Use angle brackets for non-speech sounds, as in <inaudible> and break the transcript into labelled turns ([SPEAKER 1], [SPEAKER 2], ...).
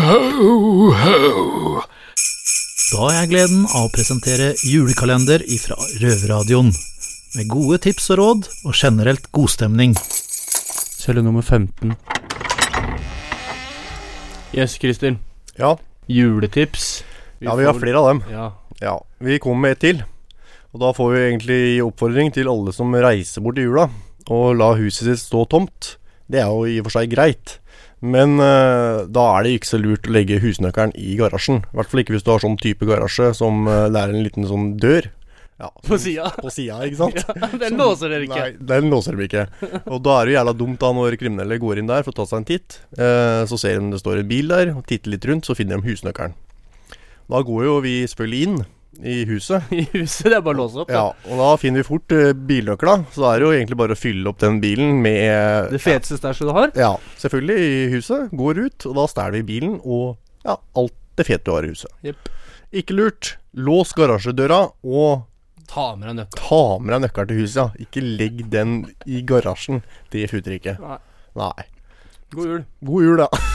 [SPEAKER 1] Ho, ho.
[SPEAKER 2] Da har jeg gleden av å presentere julekalender ifra Røverradioen. Med gode tips og råd, og generelt godstemning.
[SPEAKER 3] Celle nummer 15. Yes, Christer.
[SPEAKER 4] Ja,
[SPEAKER 3] Juletips.
[SPEAKER 4] ja, vi har
[SPEAKER 3] får-
[SPEAKER 4] flere av dem.
[SPEAKER 3] Ja.
[SPEAKER 4] Ja, Vi kommer med et til. Og da får vi egentlig gi oppfordring til alle som reiser bort i jula og la huset sitt stå tomt. Det er jo i og for seg greit, men eh, da er det ikke så lurt å legge husnøkkelen i garasjen. I hvert fall ikke hvis du har sånn type garasje som eh, det er en liten sånn dør. Ja,
[SPEAKER 3] På
[SPEAKER 4] <laughs>
[SPEAKER 3] sida.
[SPEAKER 4] på sida, ikke sant?
[SPEAKER 3] Den låser dere ikke.
[SPEAKER 4] Nei, den låser de
[SPEAKER 3] <laughs>
[SPEAKER 4] ikke. Og da er det jo jævla dumt da når kriminelle går inn der for å ta seg en titt. Eh, så ser de om det står en bil der, og titter litt rundt, så finner de husnøkkelen. Da går jo vi selvfølgelig inn i huset.
[SPEAKER 3] <laughs> I huset. Det er bare å låse opp. da.
[SPEAKER 4] Ja, og da finner vi fort eh, bilnøkla, så da er det jo egentlig bare å fylle opp den bilen med
[SPEAKER 3] Det feteste stæsjet du har.
[SPEAKER 4] Ja, selvfølgelig i huset. Går ut, og da stjeler vi bilen og ja, alt det fete du har i huset.
[SPEAKER 3] Jepp.
[SPEAKER 4] Ikke lurt. Lås garasjedøra og
[SPEAKER 3] Ta med deg nøkkelen.
[SPEAKER 4] Ta med deg nøkkelen til huset, ja. Ikke legg den i garasjen. Det futter ikke.
[SPEAKER 3] Nei.
[SPEAKER 4] Nei.
[SPEAKER 3] God jul.
[SPEAKER 4] God jul, da.